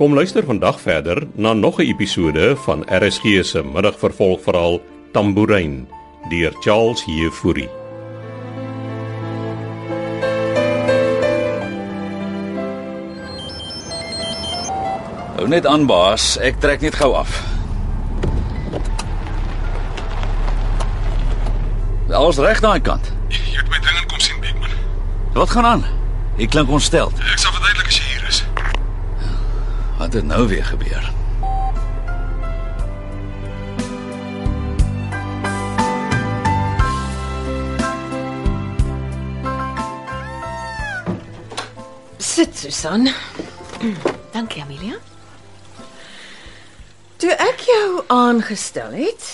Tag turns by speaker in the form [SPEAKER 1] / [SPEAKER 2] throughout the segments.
[SPEAKER 1] Kom luister vandag verder na nog 'n episode van RSG se middagvervolgverhaal Tambourine deur Charles Heffury.
[SPEAKER 2] Hou net aan baas, ek trek net gou af. Alles reg daai kant.
[SPEAKER 3] Jy het my dringend kom sien, Beekman.
[SPEAKER 2] Wat gaan aan? Ek klink ontstel.
[SPEAKER 3] Ek sal verduidelik as jy hier is.
[SPEAKER 2] Wat het nou weer gebeur?
[SPEAKER 4] Sit, Susan. Dankie, Amelia. Toe ek jou aangestel het,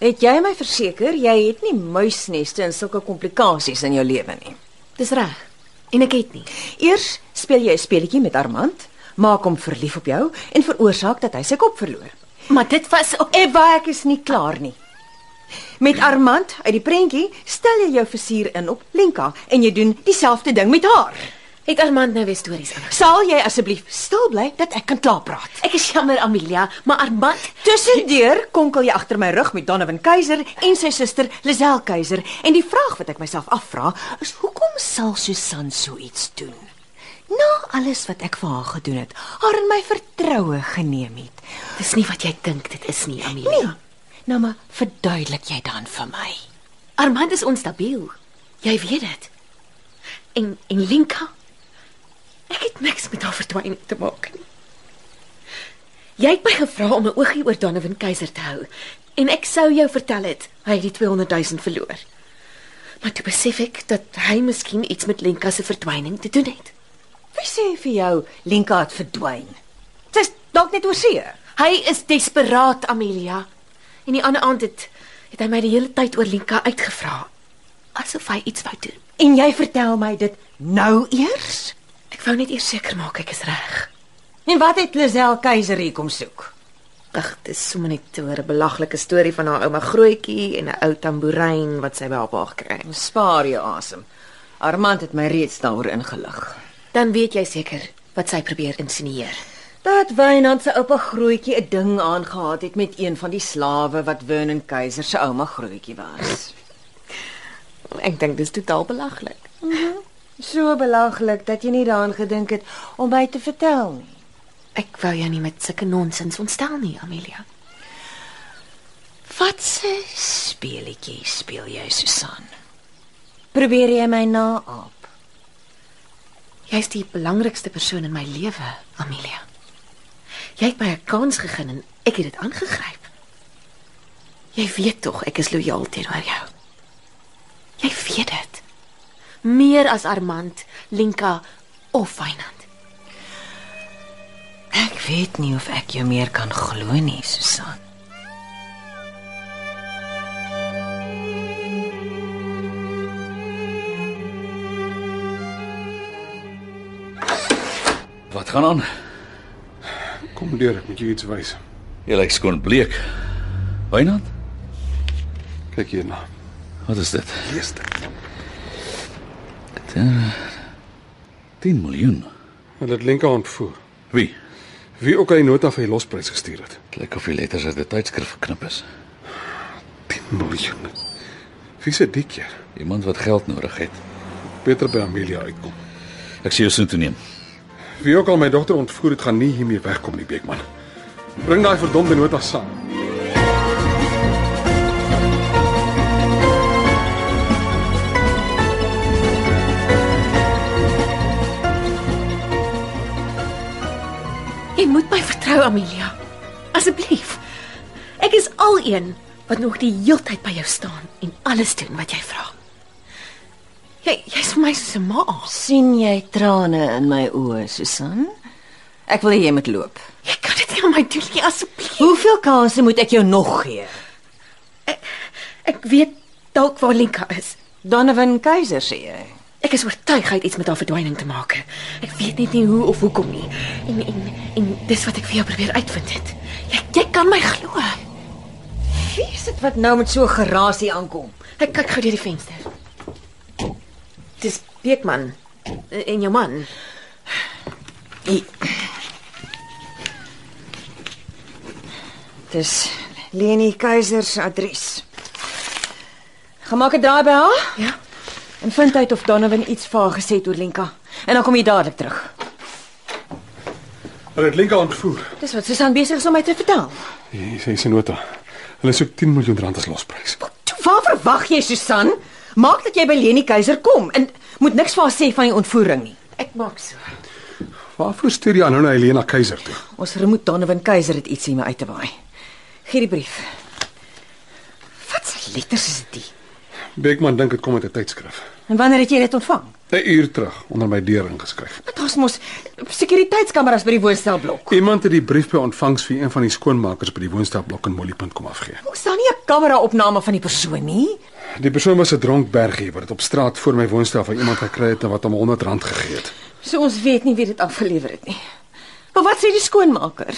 [SPEAKER 4] het jy my verseker jy het nie muisneste en sulke komplikasies in jou lewe nie.
[SPEAKER 5] Dis reg. En ek het nie.
[SPEAKER 4] Eers speel jy 'n speletjie met Armand, maak hom verlief op jou en veroorsaak dat hy sy kop verloor.
[SPEAKER 5] Maar dit was op
[SPEAKER 4] Ebba, ek is nie klaar nie. Met Armand uit die prentjie stel jy jou versier in op Lenka en jy doen dieselfde ding met haar.
[SPEAKER 5] het Armand nou weer stories aan.
[SPEAKER 4] Sal jy asseblief stil bly dat ek kan klaar praat?
[SPEAKER 5] Ek is jammer Amelia, maar Armand,
[SPEAKER 4] Tussendeur konkel jy agter my rug met Donovan Keiser en sy suster Lisel Keiser en die vraag wat ek myself afvra is hoekom sal Susan so iets doen? Na alles wat ek vir haar gedoen het, haar in my vertroue geneem het.
[SPEAKER 5] dis nie wat jy dink dit is nie, Amelia.
[SPEAKER 4] Nee. Nou maar verduidelik jy dan vir my.
[SPEAKER 5] Armand is onstabiel. Jy weet dit. En en Linka ek het niks met haar verdwyning te maak nie. Jy het my gevra om 'n oogie oor Donovan Keiser te hou en ek sou jou vertel het hy het die 200 000 verloor. Maar toe besef ek dat hy miskien iets met Lenka se verdwyning te doen het.
[SPEAKER 4] Wie sê vir jou Lenka het verdwyn? Dis dalk net oor see.
[SPEAKER 5] Hy is desperaat, Amelia. En die ander aand het het hy my die hele tyd oor Lenka uitgevra, asof hy iets wou doen.
[SPEAKER 4] En jy vertel my dit nou eers?
[SPEAKER 5] Ek wou net eers seker maak ek is reg.
[SPEAKER 4] En wat het Lisel Keiser hier kom soek?
[SPEAKER 5] Ag, dis sommer net te hoor 'n belaglike storie van haar ouma grootjie en 'n ou tamboerijn wat sy by haar pa gekry het.
[SPEAKER 4] Spaar jou asem. Armand het my reeds daaroor ingelig.
[SPEAKER 5] Dan weet jy seker wat sy probeer insinieer.
[SPEAKER 4] Dat Wynand se oupa grootjie 'n ding aangehad het met een van die slawe wat Vernon Keiser se ouma grootjie was.
[SPEAKER 5] Ek dink dis totaal belaglik.
[SPEAKER 4] So belaglik dat jy nie daaraan gedink het om my te vertel nie.
[SPEAKER 5] Ek wou jou nie met sulke nonsens ontstel nie, Amelia.
[SPEAKER 4] Wat se speletjie speel jy, Susan? Probeer jy my naaap?
[SPEAKER 5] Jy's die belangrikste persoon in my lewe, Amelia. Jy het my 'n kans gegee en ek het dit aangegryp. Jy weet tog ek is lojaal teenoor jou. Jy weet dit. Meer as Armand, Linka of Fynand.
[SPEAKER 4] Ek weet nie of ek jou meer kan glo nie, Susan.
[SPEAKER 2] Wat gaan aan?
[SPEAKER 3] Kom deur, ek moet jou iets wys.
[SPEAKER 2] Jy lyk skoon bleek. Wynand?
[SPEAKER 3] Kyk hierna.
[SPEAKER 2] Wat is dit?
[SPEAKER 3] Lees dit.
[SPEAKER 2] 10 miljoen.
[SPEAKER 3] Hulle het Lenka ontvoer.
[SPEAKER 2] Wie?
[SPEAKER 3] Wie ook al die nota vir die losprys gestuur het.
[SPEAKER 2] Dit lyk of die letters uit 'n tydskrif geknip is.
[SPEAKER 3] 10 miljoen. Wie se dik hier?
[SPEAKER 2] Iemand wat geld nodig het.
[SPEAKER 3] Beter by Amelia uitkom.
[SPEAKER 2] Ek sien jou soontoe neem.
[SPEAKER 3] Wie ook al my dogter ontvoer het, gaan nie hiermee wegkom nie, Beekman. Bring daai verdomde nota saam.
[SPEAKER 5] Jy moet my vertrou, Amelia. Asseblief. Ek is al een wat nog die heeltyd by jou staan en alles doen wat jy vra. Jy jy's vir my soos 'n ma.
[SPEAKER 4] sien jy trane in my oë, Susan? Ek wil hê jy moet loop.
[SPEAKER 5] Jy kan dit nie aan my doen nie, asseblief.
[SPEAKER 4] Hoeveel kansse moet ek jou nog gee?
[SPEAKER 5] Ek weet dalk waar Lenka is.
[SPEAKER 4] Donovan Keiser sê jy.
[SPEAKER 5] Ek is oortuig hy het iets met haar verdwyning te maak. Ek weet net nie hoe of hoekom nie. En en en dis wat ek vir jou probeer uitvind het. Jy jy kan my glo.
[SPEAKER 4] Wie is dit wat nou met so 'n gerasie aankom?
[SPEAKER 5] Ek kyk gou deur die venster. Dis
[SPEAKER 4] eh,
[SPEAKER 5] Beekman en jou man.
[SPEAKER 4] Jy
[SPEAKER 6] Dit is Leni Keiser se adres.
[SPEAKER 4] Gemaak 'n draai by haar
[SPEAKER 5] Ja.
[SPEAKER 4] en vind uit of Donovan iets vir haar gesê het oor Lenka. En dan kom jy dadelik terug.
[SPEAKER 3] Hulle het Lenka ontvoer.
[SPEAKER 4] Dis wat Susan besig is om my te vertel.
[SPEAKER 3] Hier sê sy nota. Hulle soek 10 miljoen rand as losprys.
[SPEAKER 4] Toe waar verwag jy Susan? Maak dat jy by Leni Keiser kom en moet niks vir haar sê van die ontvoering nie.
[SPEAKER 5] Ek maak so.
[SPEAKER 3] Waarvoor stuur jy aan nou na Helena Keiser toe?
[SPEAKER 4] Ons remoet Donovan Keiser dit iets hiermee uit te waai. Gee die brief.
[SPEAKER 5] Wat se letters is dit?
[SPEAKER 3] Beekman dink dit kom uit 'n tydskrif.
[SPEAKER 4] En wanneer het jy dit ontvang?
[SPEAKER 3] 'n Uur terug onder my deur ingeskryf.
[SPEAKER 4] Want Daar's mos sekuriteitskameras by die woonstelblok.
[SPEAKER 3] Iemand het die brief by ontvangs vir een van die skoonmakers by die woonstelblok in Mollypunt kom afgee.
[SPEAKER 4] Hoe staan nie 'n kamera-opname van die persoon nie?
[SPEAKER 3] Die persoon was 'n dronk bergie wat dit op straat voor my woonstel van iemand gekry het en wat hom R100 gegee het.
[SPEAKER 4] So ons weet nie wie dit afgelewer het nie. Maar wat sê die skoonmaker?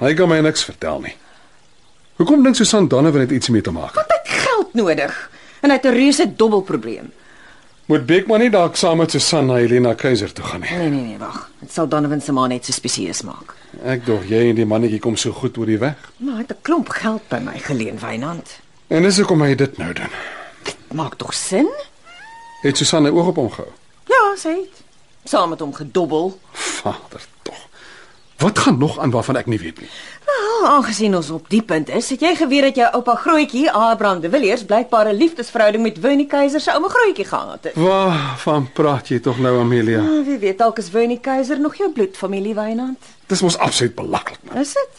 [SPEAKER 3] Hy kan my niks vertel nie. Hoekom dink Susan Donovan het iets mee te maak?
[SPEAKER 4] Want hy het geld nodig en hy het 'n reuse dobbelprobleem.
[SPEAKER 3] Moet Beekman nie dalk saam met Susan na Helena Keiser toe gaan nie.
[SPEAKER 4] Nee nee nee, wag. Dit sal Donovan se ma net so spesies maak.
[SPEAKER 3] Ek dog jy en die mannetjie kom so goed oor die weg.
[SPEAKER 4] Maar hy het 'n klomp geld by my geleen, Wynand.
[SPEAKER 3] En dis hoekom hy dit nou doen.
[SPEAKER 4] Maak tog sin?
[SPEAKER 3] Het Susan 'n oog op hom gehou?
[SPEAKER 4] Ja, sê dit. Saam met hom gedobbel.
[SPEAKER 3] Vader tog. Wat gaan nog aan waarvan ek nie weet nie.
[SPEAKER 4] Wel, aangesien ons op die punt is, het jy geweet dat jou oupa Grootjie, Abraham de Villiers, blykbaar 'n liefdesverhouding met Winnie Keiser se ouma Grootjie gehad het. Ah,
[SPEAKER 3] Waarvan praat jy tog nou Amelia?
[SPEAKER 4] Wie weet, dalk is Winnie Keiser nog jou bloedfamilie, Wynand.
[SPEAKER 3] Dis mos absoluut belaglik man.
[SPEAKER 4] Is dit?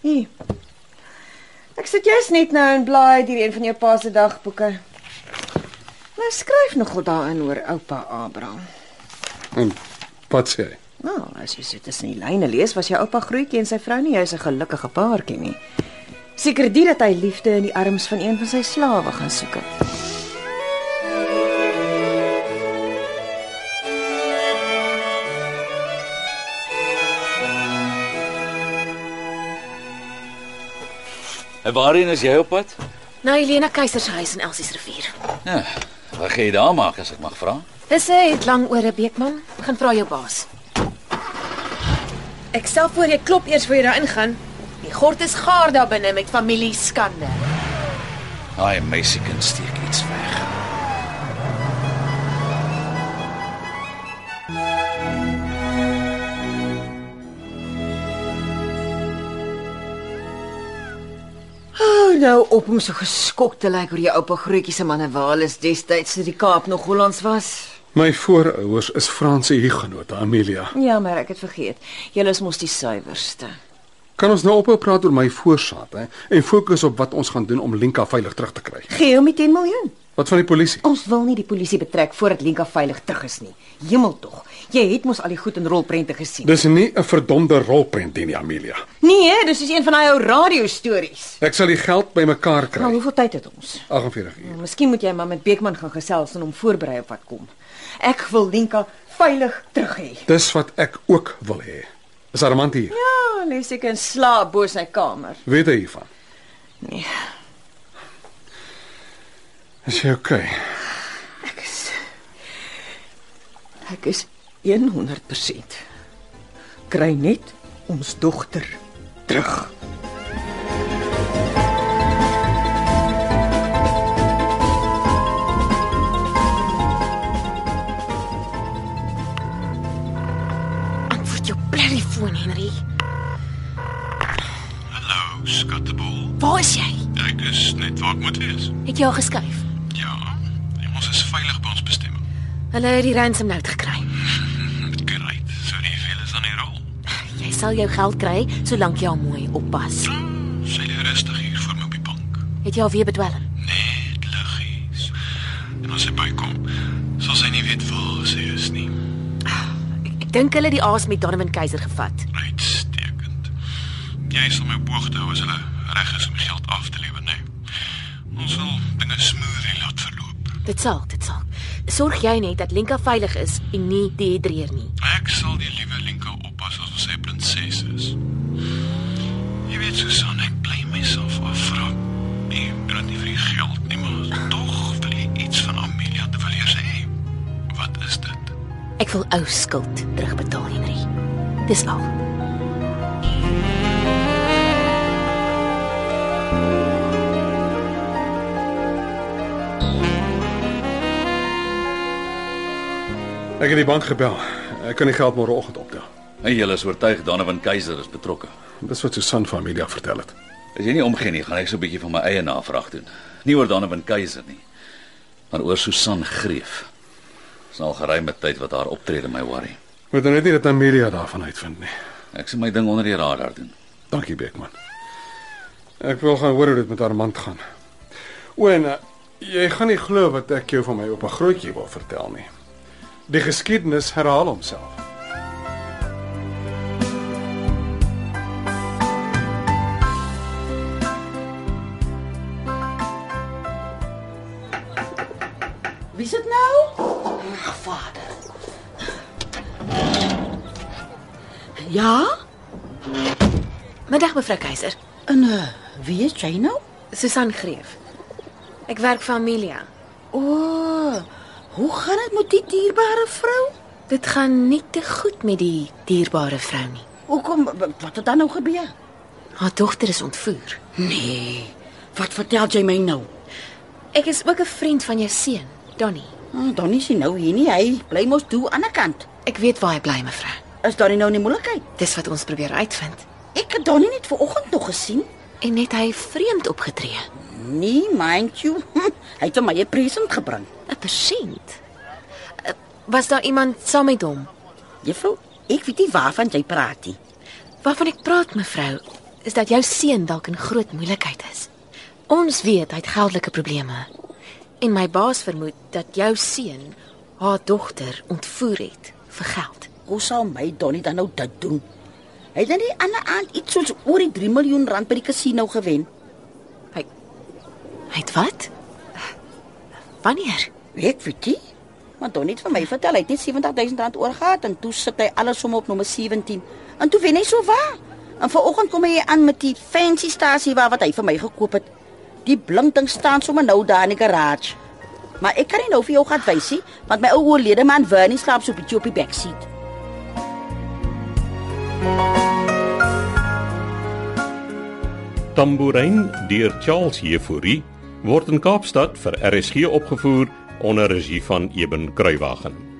[SPEAKER 4] Hier. Ek sit jous net nou en blaai deur een van jou pa se dagboeke. Nou skryf nogal daarin oor oupa Abraham.
[SPEAKER 3] En wat sê hy?
[SPEAKER 4] Nou, as jy so tussen die lyne lees, was jou oupa grootjie en sy vrou nie jous 'n gelukkige paartjie nie. Seker dit dat hy liefde in die arms van een van sy slawe gaan soek het.
[SPEAKER 2] En waarheen is jy op pad?
[SPEAKER 5] Na Helena Keiser se huis in Elsie se rivier.
[SPEAKER 2] Ja, wat gaan jy daar maak as ek mag vra?
[SPEAKER 5] Dis 'n het lang ore Beekman. Gaan vra jou baas. Ek stel voor jy klop eers voor jy daar ingaan. Die gort is gaar daar binne met familie skande.
[SPEAKER 2] Daai meisie kan steek iets weg.
[SPEAKER 4] Hou nou op om so geskok te lyk oor jou oupa grootjie se manewales destyds toe die Kaap nog Hollands was.
[SPEAKER 3] My voorouers is Franse hugenote Amelia.
[SPEAKER 4] Ja, maar ek het vergeet. Julle is mos die suiwerste.
[SPEAKER 3] Kan ons nou ophou praat oor my voorsaat hè en fokus op wat ons gaan doen om Linka veilig terug te kry?
[SPEAKER 4] Gee hom die 10 miljoen.
[SPEAKER 3] Wat van die polisie?
[SPEAKER 4] Ons wil nie die polisie betrek voordat Lenka veilig terug is nie. Hemel tog. Jy het mos al die goed in rolprente gesien.
[SPEAKER 3] Dis nie 'n verdomde rolprent nie, Amelia.
[SPEAKER 4] Nee, hè, dis soos een van daai ou radio stories.
[SPEAKER 3] Ek sal die geld bymekaar
[SPEAKER 4] Nou,
[SPEAKER 3] kry.
[SPEAKER 4] hoeveel tyd het ons?
[SPEAKER 3] 48 uur.
[SPEAKER 4] Nou, Miskien moet jy maar met Beekman gaan gesels en hom voorberei op wat kom. Ek wil Lenka veilig terug hê.
[SPEAKER 3] Dis wat ek ook wil hê. Is Armand hier?
[SPEAKER 4] Ja, lees ek in slaap bo sy kamer.
[SPEAKER 3] Weet hy hiervan?
[SPEAKER 4] Nee.
[SPEAKER 3] Is jy okay?
[SPEAKER 4] Ek is Ek is 100%. Kry net ons dogter terug.
[SPEAKER 5] Antwoord jou blerrie foon, Henry.
[SPEAKER 7] Hallo, skattebol.
[SPEAKER 5] Waar is jy?
[SPEAKER 7] Ek is net waar ek moet wees.
[SPEAKER 5] Het jy al geskuif?
[SPEAKER 7] Ja, en ons is veilig by ons bestemming.
[SPEAKER 5] Hulle het die ransom note gekry.
[SPEAKER 7] Great. So die veel is aan die rol.
[SPEAKER 5] Jy sal jou geld kry solank jy haar mooi oppas.
[SPEAKER 7] Ah, Sy lê rustig hier voor my op die bank.
[SPEAKER 5] Het jy haar weer bedwelm?
[SPEAKER 7] Net liggies. En as sy bykom, sal sy nie weet waar sy is nie.
[SPEAKER 5] Ek, ek dink hulle het die aas met Donovan Keiser gevat.
[SPEAKER 7] Uitstekend. Jy sal my boogte hou as hulle reg is om die geld af te lewer, né? Ons wil dinge smoothie laat verloop.
[SPEAKER 5] Dit sal, dit sal. Sorg jy net dat Lenka veilig is en nie dehydreer nie.
[SPEAKER 7] Ek sal die liewe Linka oppas as ons sy prinses is. Jy weet Susan, ek bly myself afvra. Nee, dit is nie vir die geld nie, maar tog wil jy iets van Amelia de Villiers hê. Wat is dit?
[SPEAKER 5] Ek wil ou skuld terugbetaal, Henry. Dis al.
[SPEAKER 3] Ek het die bank gebel. Ek kan die geld môreoggend optel.
[SPEAKER 2] En jy is oortuig Donovan Keiser is betrokke.
[SPEAKER 3] Dis wat Susan van media vertel het.
[SPEAKER 2] As jy nie omgee nie, gaan ek so 'n bietjie van my eie navraag doen. Nie oor Donovan Keiser nie, maar oor Susan Greef. Dis nou al geruime tyd wat haar optrede my worry.
[SPEAKER 3] Moet nou net nie dat Amelia daarvan uitvind nie.
[SPEAKER 2] Ek sien my ding onder die radar doen.
[SPEAKER 3] Dankie Beekman. Ek wil gaan hoor hoe dit met Armand gaan. O en eh, jy gaan nie glo wat ek jou van my op 'n grootjie wil vertel nie. Die geskiedenis herhaal homself.
[SPEAKER 4] Wie is dit nou?
[SPEAKER 5] Ja? Middag mevrou Keiser.
[SPEAKER 8] En
[SPEAKER 4] eh,
[SPEAKER 8] uh, wie is jy nou?
[SPEAKER 5] Susan Greef. Ek werk vir Amelia.
[SPEAKER 8] O, oh, hoe gaan dit met die dierbare vrou?
[SPEAKER 5] Dit gaan nie te goed met die dierbare vrou nie.
[SPEAKER 8] Hoekom w- wat het dan nou gebeur?
[SPEAKER 5] Haar dogter is ontvoer.
[SPEAKER 8] Nee. Wat vertel jy my nou?
[SPEAKER 5] Ek is ook 'n vriend van jou seun, Donnie.
[SPEAKER 8] Oh, dan is hy nou hier nie. Hy bly mos toe aan die ander kant.
[SPEAKER 5] Ek weet waar hy bly, mevrou.
[SPEAKER 8] Is daar nie nou nie moeilikheid?
[SPEAKER 5] Dis wat ons probeer uitvind.
[SPEAKER 8] Ek het Donnie net vanoggend nog gesien.
[SPEAKER 5] En net hy vreemd opgetree.
[SPEAKER 8] Nee, mind you. hy het hom my 'n present gebring.
[SPEAKER 5] 'n Persent. Eh, Was daar iemand saam met hom?
[SPEAKER 8] Juffrou, ek weet nie waarvan jy praat nie.
[SPEAKER 5] Waarvan ek praat, mevrou, is dat jou seun dalk in groot moeilikheid is. Ons weet hy het geldelike probleme. En my baas vermoed dat jou seun haar dogter ontvoer het vir geld.
[SPEAKER 8] Hoe sal my Donnie dan nou dit doen? Hy het dan nie ander aand iets soos oor die 3 miljoen rand by die kasino gewen.
[SPEAKER 5] Hy Hy het wat? Wanneer?
[SPEAKER 8] Ek weet nie. Maar Donnie het vir my vertel hy het net R70000 rand oorgehad en toe sit hy alles om op nommer 17. En toe wen hy so waar. En vanoggend kom hy aan met die fancy stasie waar wat hy vir my gekoop het. Die blink ding staan sommer nou daar in die garage. Maar ek kan nie nou vir jou gaan wys nie, want my ou oorlede man Vernie slaap so 'n bietjie op die backseat.
[SPEAKER 1] Tambourin deur Charles Heffouri word in Kaapstad vir RSG opgevoer onder regie van Eben Kruiwagen.